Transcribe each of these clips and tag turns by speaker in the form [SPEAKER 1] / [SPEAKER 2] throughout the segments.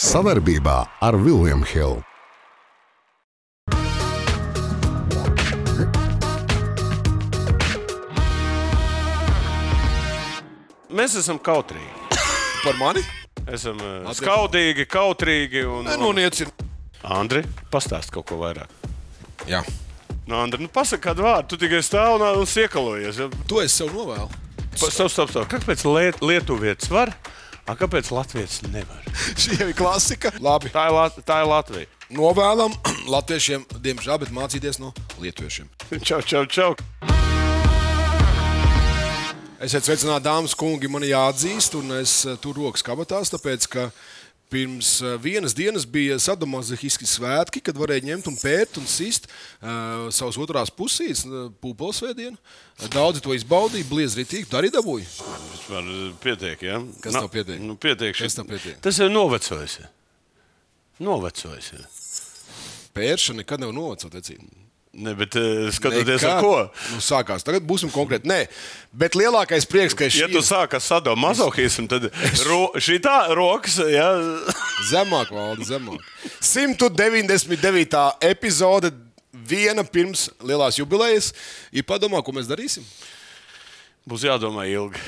[SPEAKER 1] Savarbībā ar Vilniem Hilu.
[SPEAKER 2] Mēs esam kautrīgi.
[SPEAKER 3] Par mani?
[SPEAKER 2] Esam eh,
[SPEAKER 3] Atdeva.
[SPEAKER 2] skaudīgi, kautrīgi. Un,
[SPEAKER 3] Nē, noniecini.
[SPEAKER 2] Andri, pastāst kaut ko vairāk.
[SPEAKER 3] Jā.
[SPEAKER 2] Nu, Andri, nu, pasaki kādu vārdu. Tu tikai stāv un, un siekalojies. ja?
[SPEAKER 3] To es sev novēlu.
[SPEAKER 2] Pa- Stop, stop, stop. Kāpēc liet, lietuvietis var, a kāpēc latviečs nevar?
[SPEAKER 3] Šī jau ir klasika. Labi.
[SPEAKER 2] Tā ir, Lat tā ir Latvija.
[SPEAKER 3] Novēlam latviešiem, diemžēl, bet mācīties no lietuviešiem.
[SPEAKER 2] Čau, čau, čau.
[SPEAKER 3] Es esmu sveicināts, dāmas un kungi. Man jāatzīst, un es eh, turu rokas kabatās, tāpēc, ka pirms eh, vienas dienas bija sadomazahiski svētki, kad varēja ņemt un pērt un sist uh, savas otrās puses, uh, pūpoles svētdienu. Daudzi to izbaudīja, bliez rītīgi, tā arī dabūja.
[SPEAKER 2] Vispār eh, pietiek, ja?
[SPEAKER 3] Kas
[SPEAKER 2] Na-
[SPEAKER 3] tev pietiek?
[SPEAKER 2] Nu, pietiek
[SPEAKER 3] Kas
[SPEAKER 2] šit-
[SPEAKER 3] tev pietiek?
[SPEAKER 2] Tas ir novecojis. ja. Novecojis. ja.
[SPEAKER 3] Pēršana nekad nav novecota.
[SPEAKER 2] Ne, bet eh, skatoties,
[SPEAKER 3] Nekad.
[SPEAKER 2] ar ko.
[SPEAKER 3] Nu, sākās. Tagad būsim konkrēti. Nē, bet lielākais prieks, ka šī
[SPEAKER 2] Ja tu
[SPEAKER 3] ir
[SPEAKER 2] sāki ar sadu mazohismu, tad ro, šī tā rokas, ja,
[SPEAKER 3] zemāk valda zemāk. 199. epizode, viena pirms lielās jubilejas, ir padomā, ko mēs darīsim.
[SPEAKER 2] būs jādomā ilgi,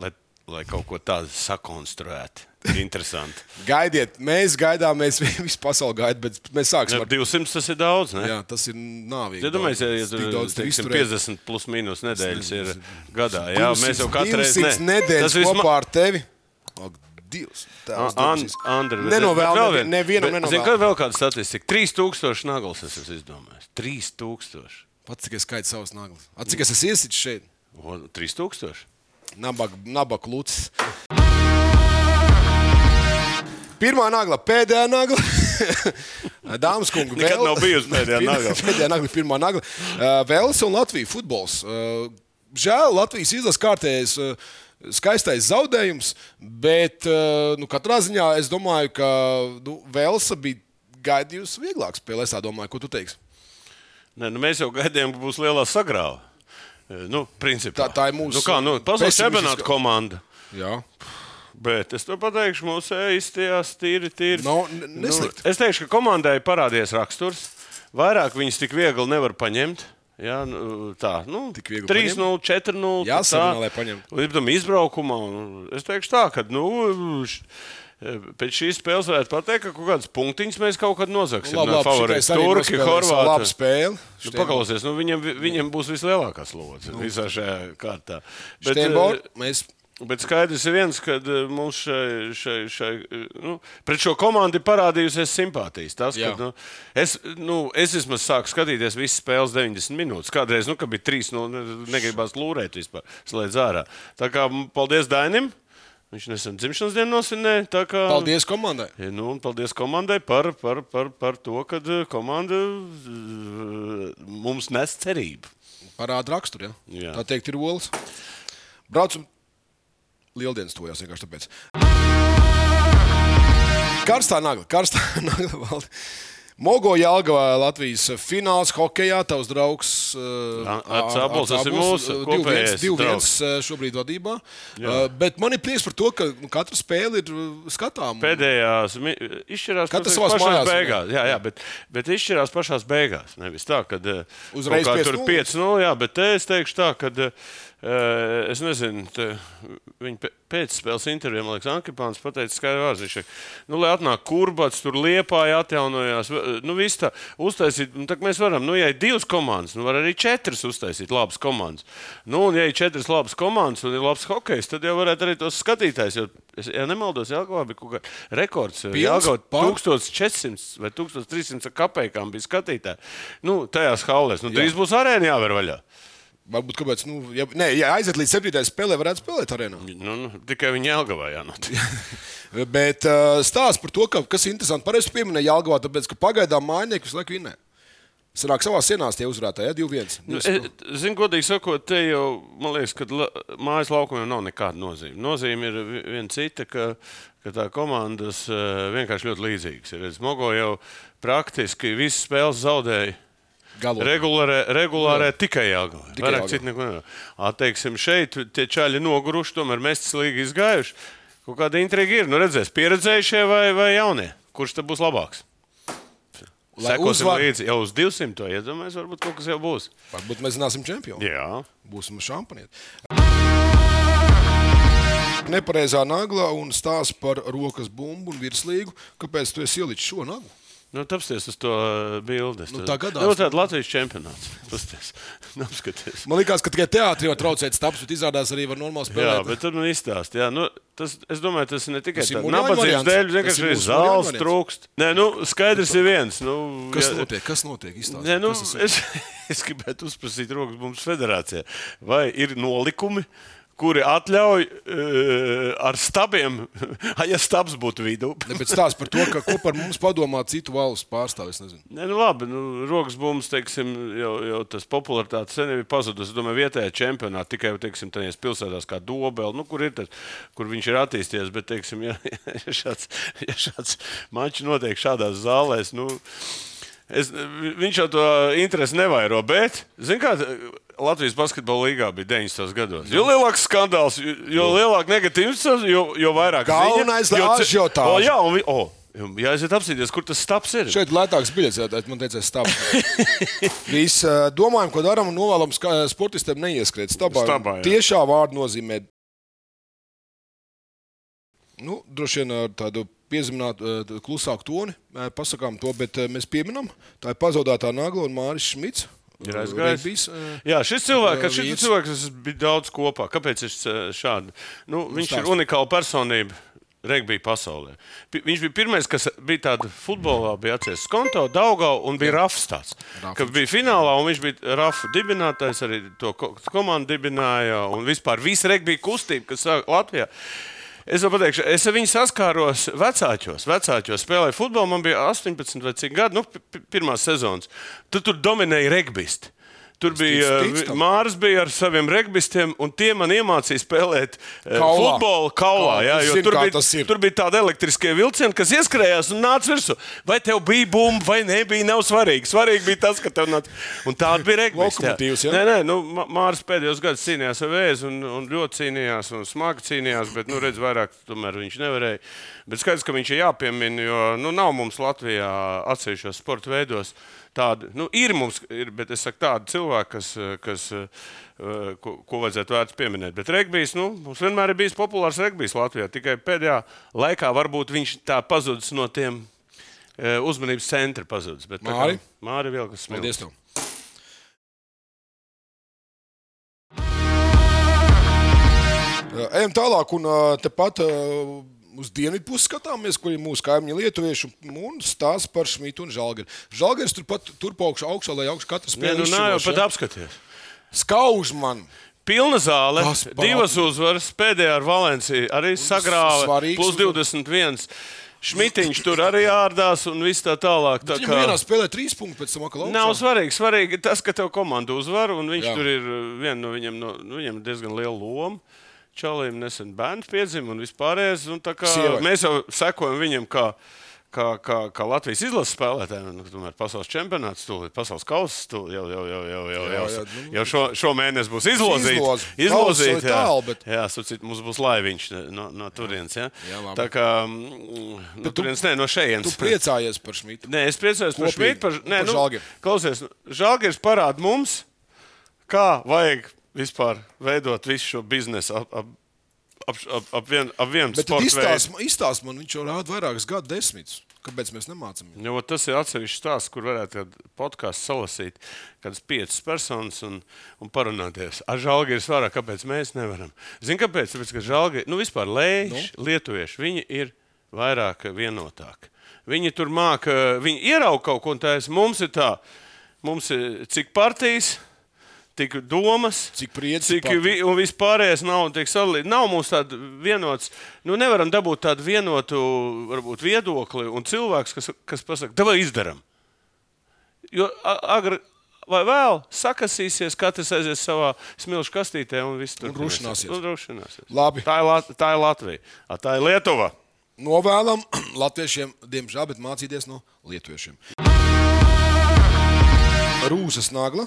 [SPEAKER 2] lai, lai kaut ko tādu sakonstruētu. Interesanti.
[SPEAKER 3] Gaidiet, mēs gaidām, mēs visu pasauli gaidām, bet mēs sāksim
[SPEAKER 2] Ar
[SPEAKER 3] ar
[SPEAKER 2] 200 tas ir daudz. Ne?
[SPEAKER 3] Jā, tas ir nāvīgi.
[SPEAKER 2] Iedomājieties, ja, ja
[SPEAKER 3] Tik
[SPEAKER 2] tur
[SPEAKER 3] daudz tur
[SPEAKER 2] teiksim,
[SPEAKER 3] izturēt.
[SPEAKER 2] 50 plus mīnus nedēļas ir gadā. Jā, mēs jau
[SPEAKER 3] 200
[SPEAKER 2] katru reizi
[SPEAKER 3] 200 nedēļas kopā ar tevi. Ak, Dievs, tās debesis. Nenovēlu nevienam,
[SPEAKER 2] Zinu, kad
[SPEAKER 3] nenovēlu.
[SPEAKER 2] vēl kāda statistika. 3000 naglas es esmu izdomājis. 3000.
[SPEAKER 3] Pats tikai skaits savas naglas. Atcik es esmu iesitis šeit.
[SPEAKER 2] O, 3000?
[SPEAKER 3] Nabaga klūcis. Pirmā nagla, pēdējā nagla. Dāmas kungi,
[SPEAKER 2] Nekad
[SPEAKER 3] vēl-
[SPEAKER 2] nav bijusi pēdējā
[SPEAKER 3] Pirmā-
[SPEAKER 2] nagla.
[SPEAKER 3] Pēdējā nagla, pirmā nagla. Uh, Vēlis un Latvija futbols. Uh, Žēl, Latvijas izlases kārtējais. uh, Skaistais zaudējums, bet uh, nu, katrā ziņā es domāju, ka nu, Velsa bija gaidījusi vieglāku spēli. Es tā domāju, ko tu teiksi.
[SPEAKER 2] Nē, nu mēs jau gaidījām, ka būs lielā sagrāva. E, Nu, principā.
[SPEAKER 3] Tā- tā ir mūsu
[SPEAKER 2] Nu, kā, nu, pasaules
[SPEAKER 3] pesimistiskā-
[SPEAKER 2] čempionāta komanda.
[SPEAKER 3] Jā,
[SPEAKER 2] Bet es to pateikšu, mūsu īstajās tīri, tīri. Nu,
[SPEAKER 3] Nav n- neslikti.
[SPEAKER 2] es teikšu, ka komandai parādījās raksturs. Vairāk viņas tik viegli nevar paņemt. Jā, nu, tā nu,
[SPEAKER 3] Tik viegli
[SPEAKER 2] 3-0, 4-0.
[SPEAKER 3] Jā,
[SPEAKER 2] tā.
[SPEAKER 3] sarunā, lai paņemtu.
[SPEAKER 2] Un, Protams, izbraukumā. un Es teikšu tā, ka nu, š- pēc šīs spēles varētu pateikt, ka kaut kādas punktiņas mēs kaut kad nozagsim.
[SPEAKER 3] labi,
[SPEAKER 2] no
[SPEAKER 3] labi.
[SPEAKER 2] favorīta.
[SPEAKER 3] šitais arī
[SPEAKER 2] Turki,
[SPEAKER 3] nospēlēja savu
[SPEAKER 2] Horvāti.
[SPEAKER 3] Labu spēli.
[SPEAKER 2] Nu, paklausies, nu, viņam, vi- viņam būs vislielākā slodze nu. visā šajā kārtā. Bet,
[SPEAKER 3] Steinbauer,
[SPEAKER 2] eh,
[SPEAKER 3] mēs
[SPEAKER 2] bet skaidrs ir viens, ka mums šai, šai, šai, eh, nu, pret šo komandu ir parādījusies simpātijas. Tas, ka,
[SPEAKER 3] Jā.
[SPEAKER 2] nu, es, nu, es vismaz sāku skatīties visas spēles 90 minūtes. Kādreiz, nu, kad bija 3, nu, ne- negribās lūrēt vispār, slēdz ārā. Tā kā m, paldies Dainim. Viņš nesen dzimšanas dienu nosvinēja. tā kā-
[SPEAKER 3] Paldies komandai.
[SPEAKER 2] Ja, Nu, un paldies komandai par, par, par, par to, ka komanda eh, mums nes cerību.
[SPEAKER 3] Parāda raksturu. Ja?
[SPEAKER 2] Jā.
[SPEAKER 3] Tā teikt, ir olas. Braucam, lieldienas tojās vienkārši tāpēc. Karstā nagla, karstā nagla valde. Mogo Jālgavā Latvijas fināls hokeja. Tavs draugs eh,
[SPEAKER 2] Ā- Ats Abols, tas ir mūsu kopējais draugs.
[SPEAKER 3] 2-1 eh, šobrīd vadībā. Uh, Bet man ir prieks par to, ka nu, katra spēle ir uh, skatāma.
[SPEAKER 2] Pēdējās mi- e, izšķirās
[SPEAKER 3] Katrs
[SPEAKER 2] protams,
[SPEAKER 3] savās
[SPEAKER 2] pašās
[SPEAKER 3] mājās,
[SPEAKER 2] beigās. Jā, jā bet, bet izšķirās pašās beigās. Nevis tā, ka
[SPEAKER 3] Uzreiz
[SPEAKER 2] tur
[SPEAKER 3] 5:0.
[SPEAKER 2] 5-0, nu jā, bet te es teikšu tā, ka es nezinu, te, viņi pē- pēc spēles intervijā, man liekas, Ankepāns pateica skaidru vārdu. Viņš teica, nu, lai atnāk kurbats, tur liepā jāatjaunojās. Nu, viss tā uztaisīt, nu, tā mēs varam, nu, ja ir divas komandas, nu, var arī četras uztaisīt labas komandas. Nu, un ja ir četras labas komandas un ir labs hokejs, tad jau varētu arī tos skatītājs. Jo, es, ja nemaldos, Jāgavā bija kaut kāds rekords. Jāgavā
[SPEAKER 3] par-
[SPEAKER 2] 1400 vai 1300 kapeikām bija skatītāji. Nu, tajās haulēs. Nu, drīz būs arēna jāver vaļā.
[SPEAKER 3] Varbūt, kāpēc, nu, ja, nē, ja aiziet līdz 7. spēlē, varētu spēlēt arēnā.
[SPEAKER 2] Nu, nu, tikai viņa Jāgavā jānotiek.
[SPEAKER 3] Bet uh, stāsts par to, ka, kas ir interesanti. Pareizi pieminēja Jālgavā, tāpēc, ka pagaidām mājiņnieki visu laiku vinē. Sanāk savā sienās tie uzvarētāji, ja 2-1.
[SPEAKER 2] Nu,
[SPEAKER 3] Nu,
[SPEAKER 2] Zinu, godīgi sakot, te jau, man liekas, ka la, mājas laukumiem nav nekāda nozīme. Nozīme ir vi- viena cita, ka, ka tā komandas eh, vienkārši ļoti līdzīgas. ir. Es Mogo jau praktiski visas spēles zaudēju.
[SPEAKER 3] Galvā.
[SPEAKER 2] Regulārē, regulārē tikai jāgala.
[SPEAKER 3] Tikai
[SPEAKER 2] Vairāk
[SPEAKER 3] jāgala.
[SPEAKER 2] citu neko nevar. Atteiksim, šeit tie čaļi noguruši, tomēr mēs tas līgi izgājuši. Kaut kāda intriga ir. Nu, redzēs, pieredzējušie vai, vai jaunie. Kurš tad būs labāks?
[SPEAKER 3] Lai
[SPEAKER 2] Sekosim
[SPEAKER 3] uzvar.
[SPEAKER 2] līdzi. Jau uz 200. iedomājos, varbūt kaut kas jau būs.
[SPEAKER 3] Varbūt mēs zināsim čempionu.
[SPEAKER 2] Jā.
[SPEAKER 3] būsim šampanieti. Nepareizā nagla un stāsts par rokas bumbu un virslīgu. Kāpēc tu esi ielicis šo naglu?
[SPEAKER 2] Nu, tapsties uz to uh, bildes.
[SPEAKER 3] Nu, tā gadās.
[SPEAKER 2] Nu, tāda Latvijas čempionāts. Tapsties. Apskaties.
[SPEAKER 3] Man liekas, ka tikai teātrī jau traucēt stāvus, bet izrādās arī var normāli
[SPEAKER 2] Jā,
[SPEAKER 3] spēlēt.
[SPEAKER 2] bet tad man izstāsta, jā, nu, tas, es domāju, tas ir ne tikai
[SPEAKER 3] Tas ir
[SPEAKER 2] tāds
[SPEAKER 3] Murjāna
[SPEAKER 2] nabadzības
[SPEAKER 3] variants.
[SPEAKER 2] dēļ,
[SPEAKER 3] Tas
[SPEAKER 2] vienkārši
[SPEAKER 3] ir
[SPEAKER 2] ir
[SPEAKER 3] mūsu
[SPEAKER 2] zāles
[SPEAKER 3] Murjāna variants.
[SPEAKER 2] trūkst. Nē, nu, skaidrs ir viens. Nu,
[SPEAKER 3] Kas
[SPEAKER 2] jā,
[SPEAKER 3] notiek? Kas notiek? Izstāsti,
[SPEAKER 2] Nē, nu,
[SPEAKER 3] kas tas ir?
[SPEAKER 2] es, es gribētu uzprasīt rokas Bumbas federācijai, vai ir nolikumi, kuri atļauj uh, ar stabiem, ja stabs būtu vidū.
[SPEAKER 3] Ne, bet stāsts par to, ka ko par mums padomā citu valstu pārstāvis. Nezinu.
[SPEAKER 2] Nē, nu labi, nu, rokas bumbas, teiksim, jau, jau tas popularitātes sen jau ir pazudus. Es domāju, vietējā čempionātā tikai, teiksim, tajās pilsētās kā Dobela, nu, kur ir tas, kur viņš ir attīstījies. Bet, teiksim, ja, ja šāds, ja šāds mačs notiek šādās zālēs, nu, es, vi- viņš jau to interesi nevairo. Bet, zin kā, Latvijas basketbola līgā bija 90. gados. Jo lielāks skandāls, jo, jo lielāka negatīvs, jo, jo vairāk
[SPEAKER 3] Nu. Galvenais,
[SPEAKER 2] ziņa,
[SPEAKER 3] lai
[SPEAKER 2] ce-
[SPEAKER 3] ažiotāža.
[SPEAKER 2] O, Jā, un vi- o, jā, aiziet apsīties, kur tas staps ir.
[SPEAKER 3] Šeit lētāks biļets, ja man teica, stāv. Mēs ā, domājam, ko darām un novēlam ska- sportistiem neieskriet stabā.
[SPEAKER 2] Stabā, jā.
[SPEAKER 3] Tiešā vārda nozīmē. Nu, droši vien ar tādu piezeminātu, klusāku toni ā, pasakām to, bet ā, mēs pieminam, tā ir pazaudētā nagla un Māris Šmits. eh,
[SPEAKER 2] Ir aizgājis.
[SPEAKER 3] Regbijs, ā,
[SPEAKER 2] Jā, šis cilvēks,
[SPEAKER 3] Jā,
[SPEAKER 2] ar šis
[SPEAKER 3] vīrs.
[SPEAKER 2] cilvēks es biju daudz kopā. Kāpēc viņš šādi? Nu, viņš ir
[SPEAKER 3] stāsti.
[SPEAKER 2] unikāla personība. Regbija pasaulē. Pi- Viņš bija pirmais, kas bija tādā futbolā, bija atcēlis konto, Daugau un bija Rafs. Tāds, ka bija finālā, un viņš bija Rafa dibinātājs, arī to ko- komandu dibināja, un vispār visa regbija kustība, kas sāk Latvijā. Es jau pateikšu, es ar viņu saskāros vecākos. Vecākos spēlēju futbolu, man bija 18 vai cik gadi, nu, pi- pi- pirmās sezonas. Tad tur dominēja regbisti. Tur bija
[SPEAKER 3] ticu tam.
[SPEAKER 2] uh, Mārcis bija ar saviem regbistiem, un tie man iemācīja spēlēt kaulā.
[SPEAKER 3] Kaulā.
[SPEAKER 2] futbolu kaulā.
[SPEAKER 3] Kaulā.
[SPEAKER 2] Jā,
[SPEAKER 3] Es
[SPEAKER 2] jo
[SPEAKER 3] zinu,
[SPEAKER 2] tur,
[SPEAKER 3] kā tas
[SPEAKER 2] bija,
[SPEAKER 3] ir.
[SPEAKER 2] tur bija tādi elektriskie vilcieni, kas ieskrējās un nāca virsū. Vai tev bija bumba, vai nebija, nav svarīgi. Svarīgi bija tas, ka tev nāca. Un tāda bija
[SPEAKER 3] Lokomotīvs,
[SPEAKER 2] regbisti.
[SPEAKER 3] jā?
[SPEAKER 2] Nē, nē, nu, Mā- Māris pēdējos gados cīnījās ar vēzi, un, un ļoti cīnījās, un smagi cīnījās, bet, nu, redz, vairāk tomēr viņš nevarēja. Bet skaidrs, ka viņš ir jāpiemina, jo nu, nav mums Latvijā atsevišķos sporta veidos. Tādi, nu, ir mums, ir, bet es saku, tādi cilvēki, kas, eh, kas, eh, eh, ko, ko vajadzētu vērts pieminēt. Bet regbijs, nu, mums vienmēr ir bijis populārs regbijs Latvijā. Tikai pēdējā laikā varbūt viņš tā pazudis no tiem eh, uzmanības centra pazudis. Bet tā kā-
[SPEAKER 3] Māri?
[SPEAKER 2] Māri vēl kas smilts.
[SPEAKER 3] Paldies! Tev. Ejam tālāk, un ā, tepat ā, uz dienvidu pusi skatāmies, kur ir mūsu kaimiņi lietuvieši. un- Un stāsta par Šmitu un Žalgari. Žalgaris turpat turp augšā, augšā, lai augšā katrs
[SPEAKER 2] Nē, nu, nā, jau pat apskaties.
[SPEAKER 3] Skauž man!
[SPEAKER 2] Pilna zāle,
[SPEAKER 3] Tas pat-
[SPEAKER 2] divas uzvaras, pēdējā ar Valenciju arī sagrāva.
[SPEAKER 3] svarīgs
[SPEAKER 2] Plus 21. Šmitiņš tur arī ārdās un viss tā tālāk. Tā
[SPEAKER 3] Viņam vienā spēlē trīs punktus, pēc tam atkal augšā.
[SPEAKER 2] Nav svarīgi. Svarīgi ir tas, ka tev komanda uzvar, un viņš
[SPEAKER 3] Jā.
[SPEAKER 2] Jā. tur ir uh, viena no viņiem, no, nu, viņam ir diezgan liela loma. Čalīm nesen bērns piedzima un vispārējais. Un tā kā
[SPEAKER 3] Sieva.
[SPEAKER 2] mēs jau sekojam viņam. Kā, Kā, kā, kā Latvijas izlases spēlētājiem, nu, tomēr pasaules čempionāts, tūlīt, pasaules kausa tūlīt, jau, jau, jau, jau, jau, jau,
[SPEAKER 3] jā,
[SPEAKER 2] jau,
[SPEAKER 3] nu,
[SPEAKER 2] jau šo, šo mēnesi būs izlozīta.
[SPEAKER 3] Izloze. Kauss vēl
[SPEAKER 2] jā,
[SPEAKER 3] tālu, bet-
[SPEAKER 2] jā sacīt, mums būs laiviņš no, no turienes. Jā.
[SPEAKER 3] Jā, labi.
[SPEAKER 2] tā kā mm, no
[SPEAKER 3] tu-
[SPEAKER 2] turienes, nē, no
[SPEAKER 3] Tu
[SPEAKER 2] šejienes.
[SPEAKER 3] priecājies par Šmitu.
[SPEAKER 2] Nē, es priecājos par
[SPEAKER 3] Kopīgi.
[SPEAKER 2] Šmitu. Par, nē,
[SPEAKER 3] Par
[SPEAKER 2] nu,
[SPEAKER 3] Žalgiri.
[SPEAKER 2] klausies, Žalgiris parāda mums, kā vajag vispār veidot visu šo biznesu ap, ap, ap, ap, ap, vien, ap vienu
[SPEAKER 3] Bet
[SPEAKER 2] sporta
[SPEAKER 3] tad
[SPEAKER 2] veidu.
[SPEAKER 3] izstāst, izstāst man, viņš jau rāda vairākus gadu desmitus. Kāpēc mēs nemācāmies?
[SPEAKER 2] Nu, Jo, tas ir atsevišķs stāsts, kur varētu kādu podkāstu salasīt, kādas piecas personas un, un parunāties. Ar žēlgājas vairāk, kāpēc mēs nevaram. Zini, kāpēc? Tāpēc, ka žēlgājas, nu vispār lēši, nu? lietuvieši, viņi ir vairāk vienotāki. Viņi tur māca, viņi ieraudzīja kaut ko tādu. Mums ir tā, mums ir cik partijas, tik domas.
[SPEAKER 3] Cik priecīgi.
[SPEAKER 2] Cik vi, un vispārējais nav, tiek sadalīts. Nav mums tāda vienots, nu nevaram dabūt tādu vienotu, varbūt viedokli un cilvēks, kas, kas pasaka, tev izdarām. Jo a- agri vai vēl sakasīsies, katrs aizies savā smilšu kastītē un viss tur.
[SPEAKER 3] Un rušināsies.
[SPEAKER 2] Un rušināsies.
[SPEAKER 3] Labi.
[SPEAKER 2] Tā ir, Lat- tā ir Latvija. A, tā ir Lietuva.
[SPEAKER 3] Novēlam latviešiem, diemžēl, bet mācīties no lietuviešiem. Rūsas nagla.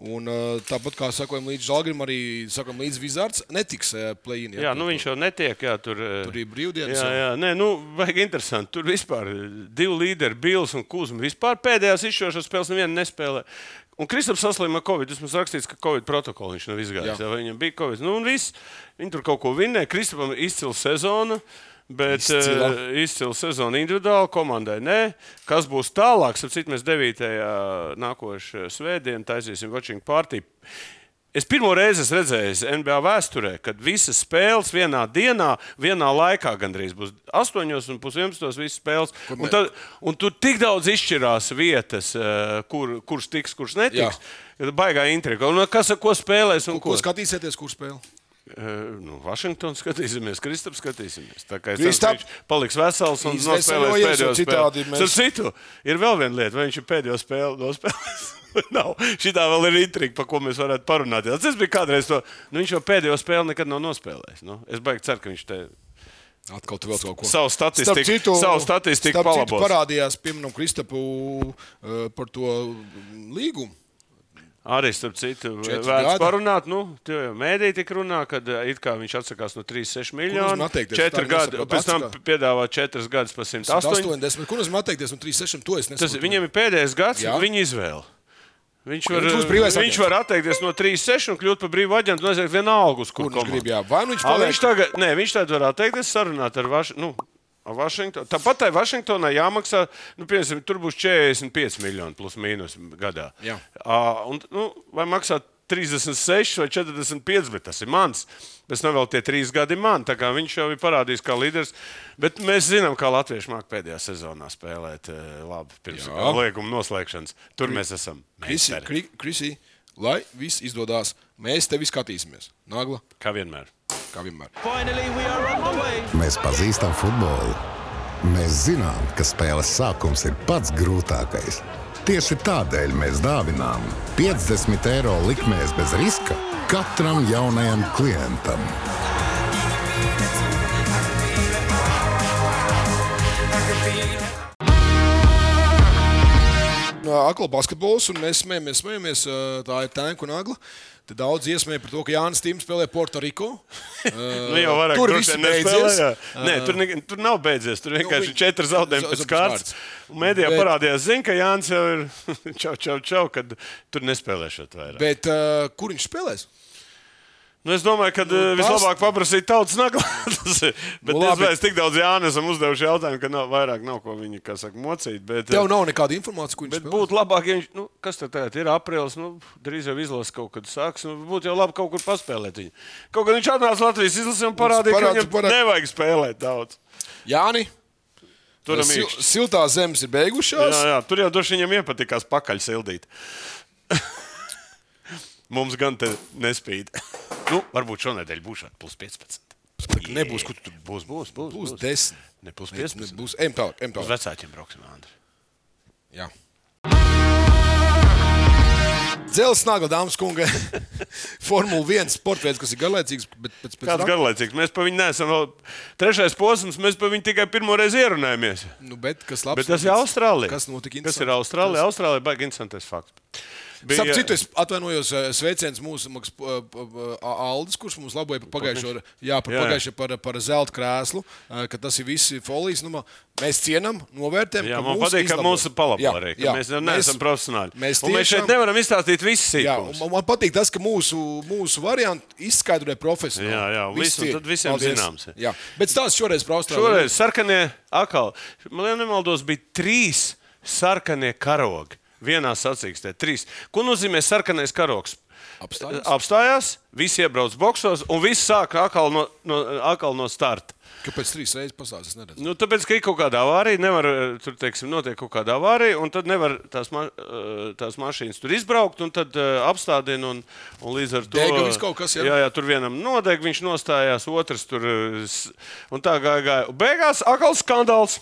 [SPEAKER 3] Un, eh, tāpat kā sakojam līdz žāgrim, arī sakojam līdz vizards netiks plēnīt.
[SPEAKER 2] Jā, nu viņš jau netiek. Jā, tur, eh,
[SPEAKER 3] Tur ir brīvdienas,
[SPEAKER 2] Jā,
[SPEAKER 3] jā.
[SPEAKER 2] jā. Nē, nu, vajag interesanti. Tur vispār eh, divi līderi, Bills un Kuzma. Vispār pēdējās izšķirošās spēles neviena nespēlē. Un Kristaps saslims ar covid. Viņš mums rakstīts, ka covid protokolu viņš nav izgājis.
[SPEAKER 3] Jā.
[SPEAKER 2] Jā. Jā, viņam bija covid. Nu, un viss. Viņi tur kaut ko vinnēja. Kristapam ir izcila sezona. Bet eh,
[SPEAKER 3] Izcila.
[SPEAKER 2] izcila. izcila sezona individuāli, komandai nē. Kas būs tālāk? Sapratu, mēs 9. nākošais svētdien taisīsim Watching Party. Es pirmo reizi esmu redzējis NBA vēsturē, kad visas spēles vienā dienā, vienā laikā gandrīz būs 8,5 visas spēles. Un, tad, un tur tik daudz izšķirās vietas, eh, kur, kurš tiks, kurš netiks. Jā. Baigā intriga. Un eh, kas ar ko spēlēs un ko?
[SPEAKER 3] Nu, Ko skatīsieties, kur spēlē?
[SPEAKER 2] Eh, nu, Vašingtonu skatīsimies, Kristaps skatīsimies. Tā kā es
[SPEAKER 4] Kristap!
[SPEAKER 2] ceru, ka viņš paliks vesels un
[SPEAKER 4] Viņš
[SPEAKER 2] nospēlēs
[SPEAKER 4] veselojies,
[SPEAKER 2] pēdējo
[SPEAKER 4] un citādi
[SPEAKER 2] spēli.
[SPEAKER 4] mēs-
[SPEAKER 2] Starp citu, ir vēl viena lieta, vai viņš ir pēdējo spēli nospēlējis. Nav. Šī tā vēl ir intriga, par ko mēs varētu parunāt. Jā, Tas bija kādreiz to. Nu, viņš jau pēdējo spēli nekad nav nospēlējis. Nu, es baigi ceru, ka viņš te
[SPEAKER 3] Atkal tu vēl kaut ko.
[SPEAKER 2] savu statistiku, citu, savu statistiku
[SPEAKER 3] starp citu,
[SPEAKER 2] palabos.
[SPEAKER 3] parādījās pieminam Kristapu eh, par to mm, līgumu.
[SPEAKER 2] Arī starp citu,
[SPEAKER 3] Četri
[SPEAKER 2] vērts
[SPEAKER 3] gadi.
[SPEAKER 2] parunāt. Nu, tie jau Mēdī tik runā, ka it kā viņš atsakās no 3,6 miljonu.
[SPEAKER 3] nozīmē atteikties?
[SPEAKER 2] Četri
[SPEAKER 3] Tā
[SPEAKER 2] gadi,
[SPEAKER 3] nesaprotu,
[SPEAKER 2] pēc tam
[SPEAKER 3] atsakā.
[SPEAKER 2] piedāvā četrus gadus par 108.
[SPEAKER 3] 80. Kur nozīmē atteikties no 3,6? To es
[SPEAKER 2] Tas,
[SPEAKER 3] nesaprotu.
[SPEAKER 2] viņam ir pēdējais gads,
[SPEAKER 3] Jā.
[SPEAKER 2] un viņa izvēle. Viņš var,
[SPEAKER 3] Viņš būs brīvais
[SPEAKER 2] viņš
[SPEAKER 3] aģents.
[SPEAKER 2] var atteikties no 3,6 un kļūt par brīvu aģentu. Viņš vienalga, uz
[SPEAKER 3] Kur
[SPEAKER 2] kur
[SPEAKER 3] viņš
[SPEAKER 2] komandu.
[SPEAKER 3] grib, jā. Vai nu viņš
[SPEAKER 2] Ā,
[SPEAKER 3] paliek-
[SPEAKER 2] Viņš tagad, nē, viņš tagad var atteikties sarunāt ar, Vaš, nu, ar Vašingtonu. Tāpat tai Vašingtonai jāmaksā, nu, piemēram, tur būs 45 miljoni plus mīnus gadā.
[SPEAKER 3] Jā.
[SPEAKER 2] Ā, un, nu, vai maksā 36 vai 45, bet tas ir mans. Pēc tam vēl tie trīs gadi man. Tā kā viņš jau ir parādījis, kā līderis. Bet mēs zinām, kā latvieši māca pēdējā sezonā spēlēt eh, labi pirms
[SPEAKER 3] Jā.
[SPEAKER 2] lieguma noslēgšanas. Tur mēs esam.
[SPEAKER 3] Krisi,
[SPEAKER 2] meistari,
[SPEAKER 3] kri, krisi, lai viss izdodas, mēs tevi skatīsimies. Nagla,
[SPEAKER 2] Kā vienmēr.
[SPEAKER 3] kā vienmēr.
[SPEAKER 5] Finally, we are on the way.
[SPEAKER 1] Mēs pazīstam futbolu. Mēs zinām, ka spēles sākums ir pats grūtākais. Tieši tādēļ mēs dāvinām 50 eiro likmēs bez riska katram jaunajam klientam.
[SPEAKER 3] Akla basketbols, un mēs smējamies, smējamies. ā, Tā ir tēna un agla. Te daudz iesmēja par to, ka Jānis Tims spēlē Puertoriko.
[SPEAKER 2] Nu, jau vairāk
[SPEAKER 3] Tur
[SPEAKER 2] droši
[SPEAKER 3] viss
[SPEAKER 2] vien nespēlē,
[SPEAKER 3] beidzies.
[SPEAKER 2] jā. Nē, tur, ne, tur nav beidzies. Tur vienkārši
[SPEAKER 3] Nu,
[SPEAKER 2] ir
[SPEAKER 3] viņi-
[SPEAKER 2] četri zaudējumi
[SPEAKER 3] za-
[SPEAKER 2] pēc
[SPEAKER 3] za-
[SPEAKER 2] kārtas.
[SPEAKER 3] kārtas.
[SPEAKER 2] Un Mēdījā
[SPEAKER 3] Bet-
[SPEAKER 2] bet... parādījās, zin, ka Jānis jau ir čau, čau, čau, kad tur nespēlēšot vairāk. Bet...
[SPEAKER 3] Bet uh, kur viņš spēlēs?
[SPEAKER 2] Nu, es domāju, ka nu,
[SPEAKER 3] tas-
[SPEAKER 2] vislabāk paprasīt tautas naglātas. Bet
[SPEAKER 3] Nu,
[SPEAKER 2] nu,
[SPEAKER 3] labi.
[SPEAKER 2] es vēl tik daudz Jānisam uzdevuši jautājumu, ka nav, vairāk nav ko viņi, kā saka, mocīt. Bet, eh,
[SPEAKER 3] Tev nav nekāda informācija, kur viņš
[SPEAKER 2] Bet
[SPEAKER 3] spēlē.
[SPEAKER 2] būtu labāk, ja viņš, nu, kas tad tagad ir aprīlis, nu, drīz jau izlases kaut kad sāks. Nu, būtu jau labi kaut kur paspēlēt viņu. Kaut gan viņš atnāca Latvijas izlasē un parādīja, parāds, ka
[SPEAKER 3] parāds-
[SPEAKER 2] viņam
[SPEAKER 3] parāds-
[SPEAKER 2] parāds. nevajag spēlēt daudz.
[SPEAKER 3] Jāni,
[SPEAKER 2] Turam
[SPEAKER 3] sil,
[SPEAKER 2] īkšķi.
[SPEAKER 3] siltā zemes ir
[SPEAKER 2] Jā,
[SPEAKER 3] beigušās.
[SPEAKER 2] jā, tur jau droši vien viņam iepatikās pakaļ sildīt. Mums gan te nespīd. nu, varbūt šonadēļ būs šādi plus 15.
[SPEAKER 3] Saka, nebūs, kur tu tur
[SPEAKER 2] Būs, būs, būs.
[SPEAKER 3] būs desmit.
[SPEAKER 2] Ne plus
[SPEAKER 3] Ne,
[SPEAKER 2] 15.
[SPEAKER 3] ne, būs M tālāk, M
[SPEAKER 2] Uz
[SPEAKER 3] tālāk.
[SPEAKER 2] vecākiem brauksim, Andri.
[SPEAKER 3] Jā. Zelsts nagla, dāmas un kungi. Formula 1 sports veids, kas ir garlaicīgs, bet pēc, pēc
[SPEAKER 2] Kāds
[SPEAKER 3] tam
[SPEAKER 2] garlaicīgs. Mēs par viņu neesam vēl. Trešais posms, mēs par viņu tikai pirmo reizi ierunājamies.
[SPEAKER 3] Nu, bet kas labs?
[SPEAKER 2] Bet tas ir Austrālija.
[SPEAKER 3] Kas notika?
[SPEAKER 2] Kas ir Austrālija? Tas... Austrālija ir baigi interesants fakts.
[SPEAKER 3] Bija... Starp citu, es atvainojos, eh, sveiciens mūsu maks- eh, eh, Aldis, kurš mums laboja par pagājušo, jā, par,
[SPEAKER 2] Jā, jā.
[SPEAKER 3] pagājušo par, par zelta krēslu, eh, ka tas ir visi folijas. Nu, ma- mēs cienām, novērtējam.
[SPEAKER 2] Jā,
[SPEAKER 3] ka
[SPEAKER 2] man
[SPEAKER 3] mūs
[SPEAKER 2] patīk, ka
[SPEAKER 3] izlabo.
[SPEAKER 2] mūsu palabā
[SPEAKER 3] Jā,
[SPEAKER 2] arī.
[SPEAKER 3] jā.
[SPEAKER 2] ka Mēs jau neesam profesionāļi.
[SPEAKER 3] mēs
[SPEAKER 2] Un mēs šeit
[SPEAKER 3] tiešām-
[SPEAKER 2] nevaram izstāstīt visus
[SPEAKER 3] Jā, un
[SPEAKER 2] sīkumus.
[SPEAKER 3] man, man patīk tas, ka mūsu, mūsu variantu izskaidroja profesionāli.
[SPEAKER 2] Jā, jā,
[SPEAKER 3] Viss
[SPEAKER 2] visu, un
[SPEAKER 3] ir.
[SPEAKER 2] tad visiem
[SPEAKER 3] Paldies.
[SPEAKER 2] zināms.
[SPEAKER 3] Jā, bet stāsts šoreiz par Austrāliju.
[SPEAKER 2] Šoreiz sarkanie akāli. Man liekas, nemaldos, bija trīs sarkanie karogi. Vienā sacīkstē trīs. Ko nozīmē sarkanais karogs?
[SPEAKER 3] Apstājās.
[SPEAKER 2] Apstājās, visi iebrauc boxos un viss sāk atkal no, no, atkal no starta.
[SPEAKER 3] Kāpēc trīs reizes pasāstīs? Es neredzu.
[SPEAKER 2] Nu, tāpēc, ka ir kaut kāda avārija, nevar, eh, tur teiksim, notiek kaut kāda avārija, un tad nevar tās, ma eh, tās mašīnas tur izbraukt, un tad eh, apstādina, un, un līdz ar to
[SPEAKER 3] Dega viss kaut kas, jā.
[SPEAKER 2] jā, jā, tur vienam nodeg, viņš nostājās, otrs tur eh, s- un tā gāja. gāja. Un Beigās atkal skandāls.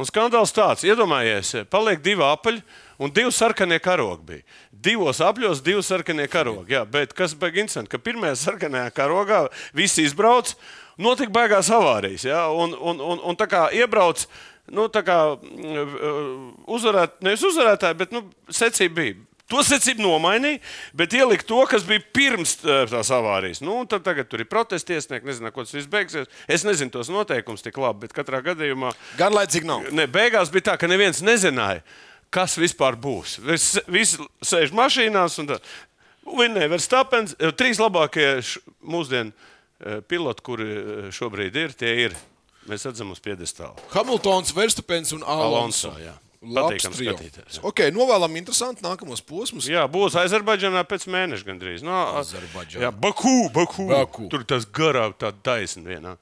[SPEAKER 2] Un skandāls tāds, iedomājies, eh, paliek divi apaļi. Un divi sarkanie karogi bija. Divos apļos, divi sarkanie karogi. Jā, bet kas bija interesanti, ka pirmajā sarkanajā karogā visi izbrauc, notika baigās avārijas. Jā, un, un, un, un tā kā iebrauc. eh, Nu, tā kā mm, uzvarēt, nevis uzvarētāji, bet nu, secība bija. To secību nomainīja, bet ielika to, kas bija pirms eh, tās avārijas. Nu, un tad tagad tur ir protesti, iesniegti, nezinu, ko tas viss beigsies. Es nezinu tos noteikumus tik labi, bet katrā gadījumā
[SPEAKER 3] Gan laicīgi nav.
[SPEAKER 2] ne, beigās bija tā, ka neviens nezināja, kas vispār būs. Vis- Visi sēž mašīnās un vinnēja Verstapens. Eh, Trīs labākie š- mūsdienu eh, piloti, kuri eh, šobrīd ir, tie ir. Mēs redzam uz piedestāla.
[SPEAKER 3] Hamiltons, Verstapens un Alonso.
[SPEAKER 2] Alonso, jā.
[SPEAKER 3] Labs
[SPEAKER 2] Patīkam
[SPEAKER 3] trio.
[SPEAKER 2] skatīties, jā.
[SPEAKER 3] Okay, novēlam interesantu nākamos posmus.
[SPEAKER 2] Jā, būs Azerbaidžanā pēc mēneša gandrīz. No,
[SPEAKER 3] Azerbaidžānā.
[SPEAKER 2] Jā, Baku, Baku.
[SPEAKER 3] Baku.
[SPEAKER 2] Tur tas garā, tā taisna vienā,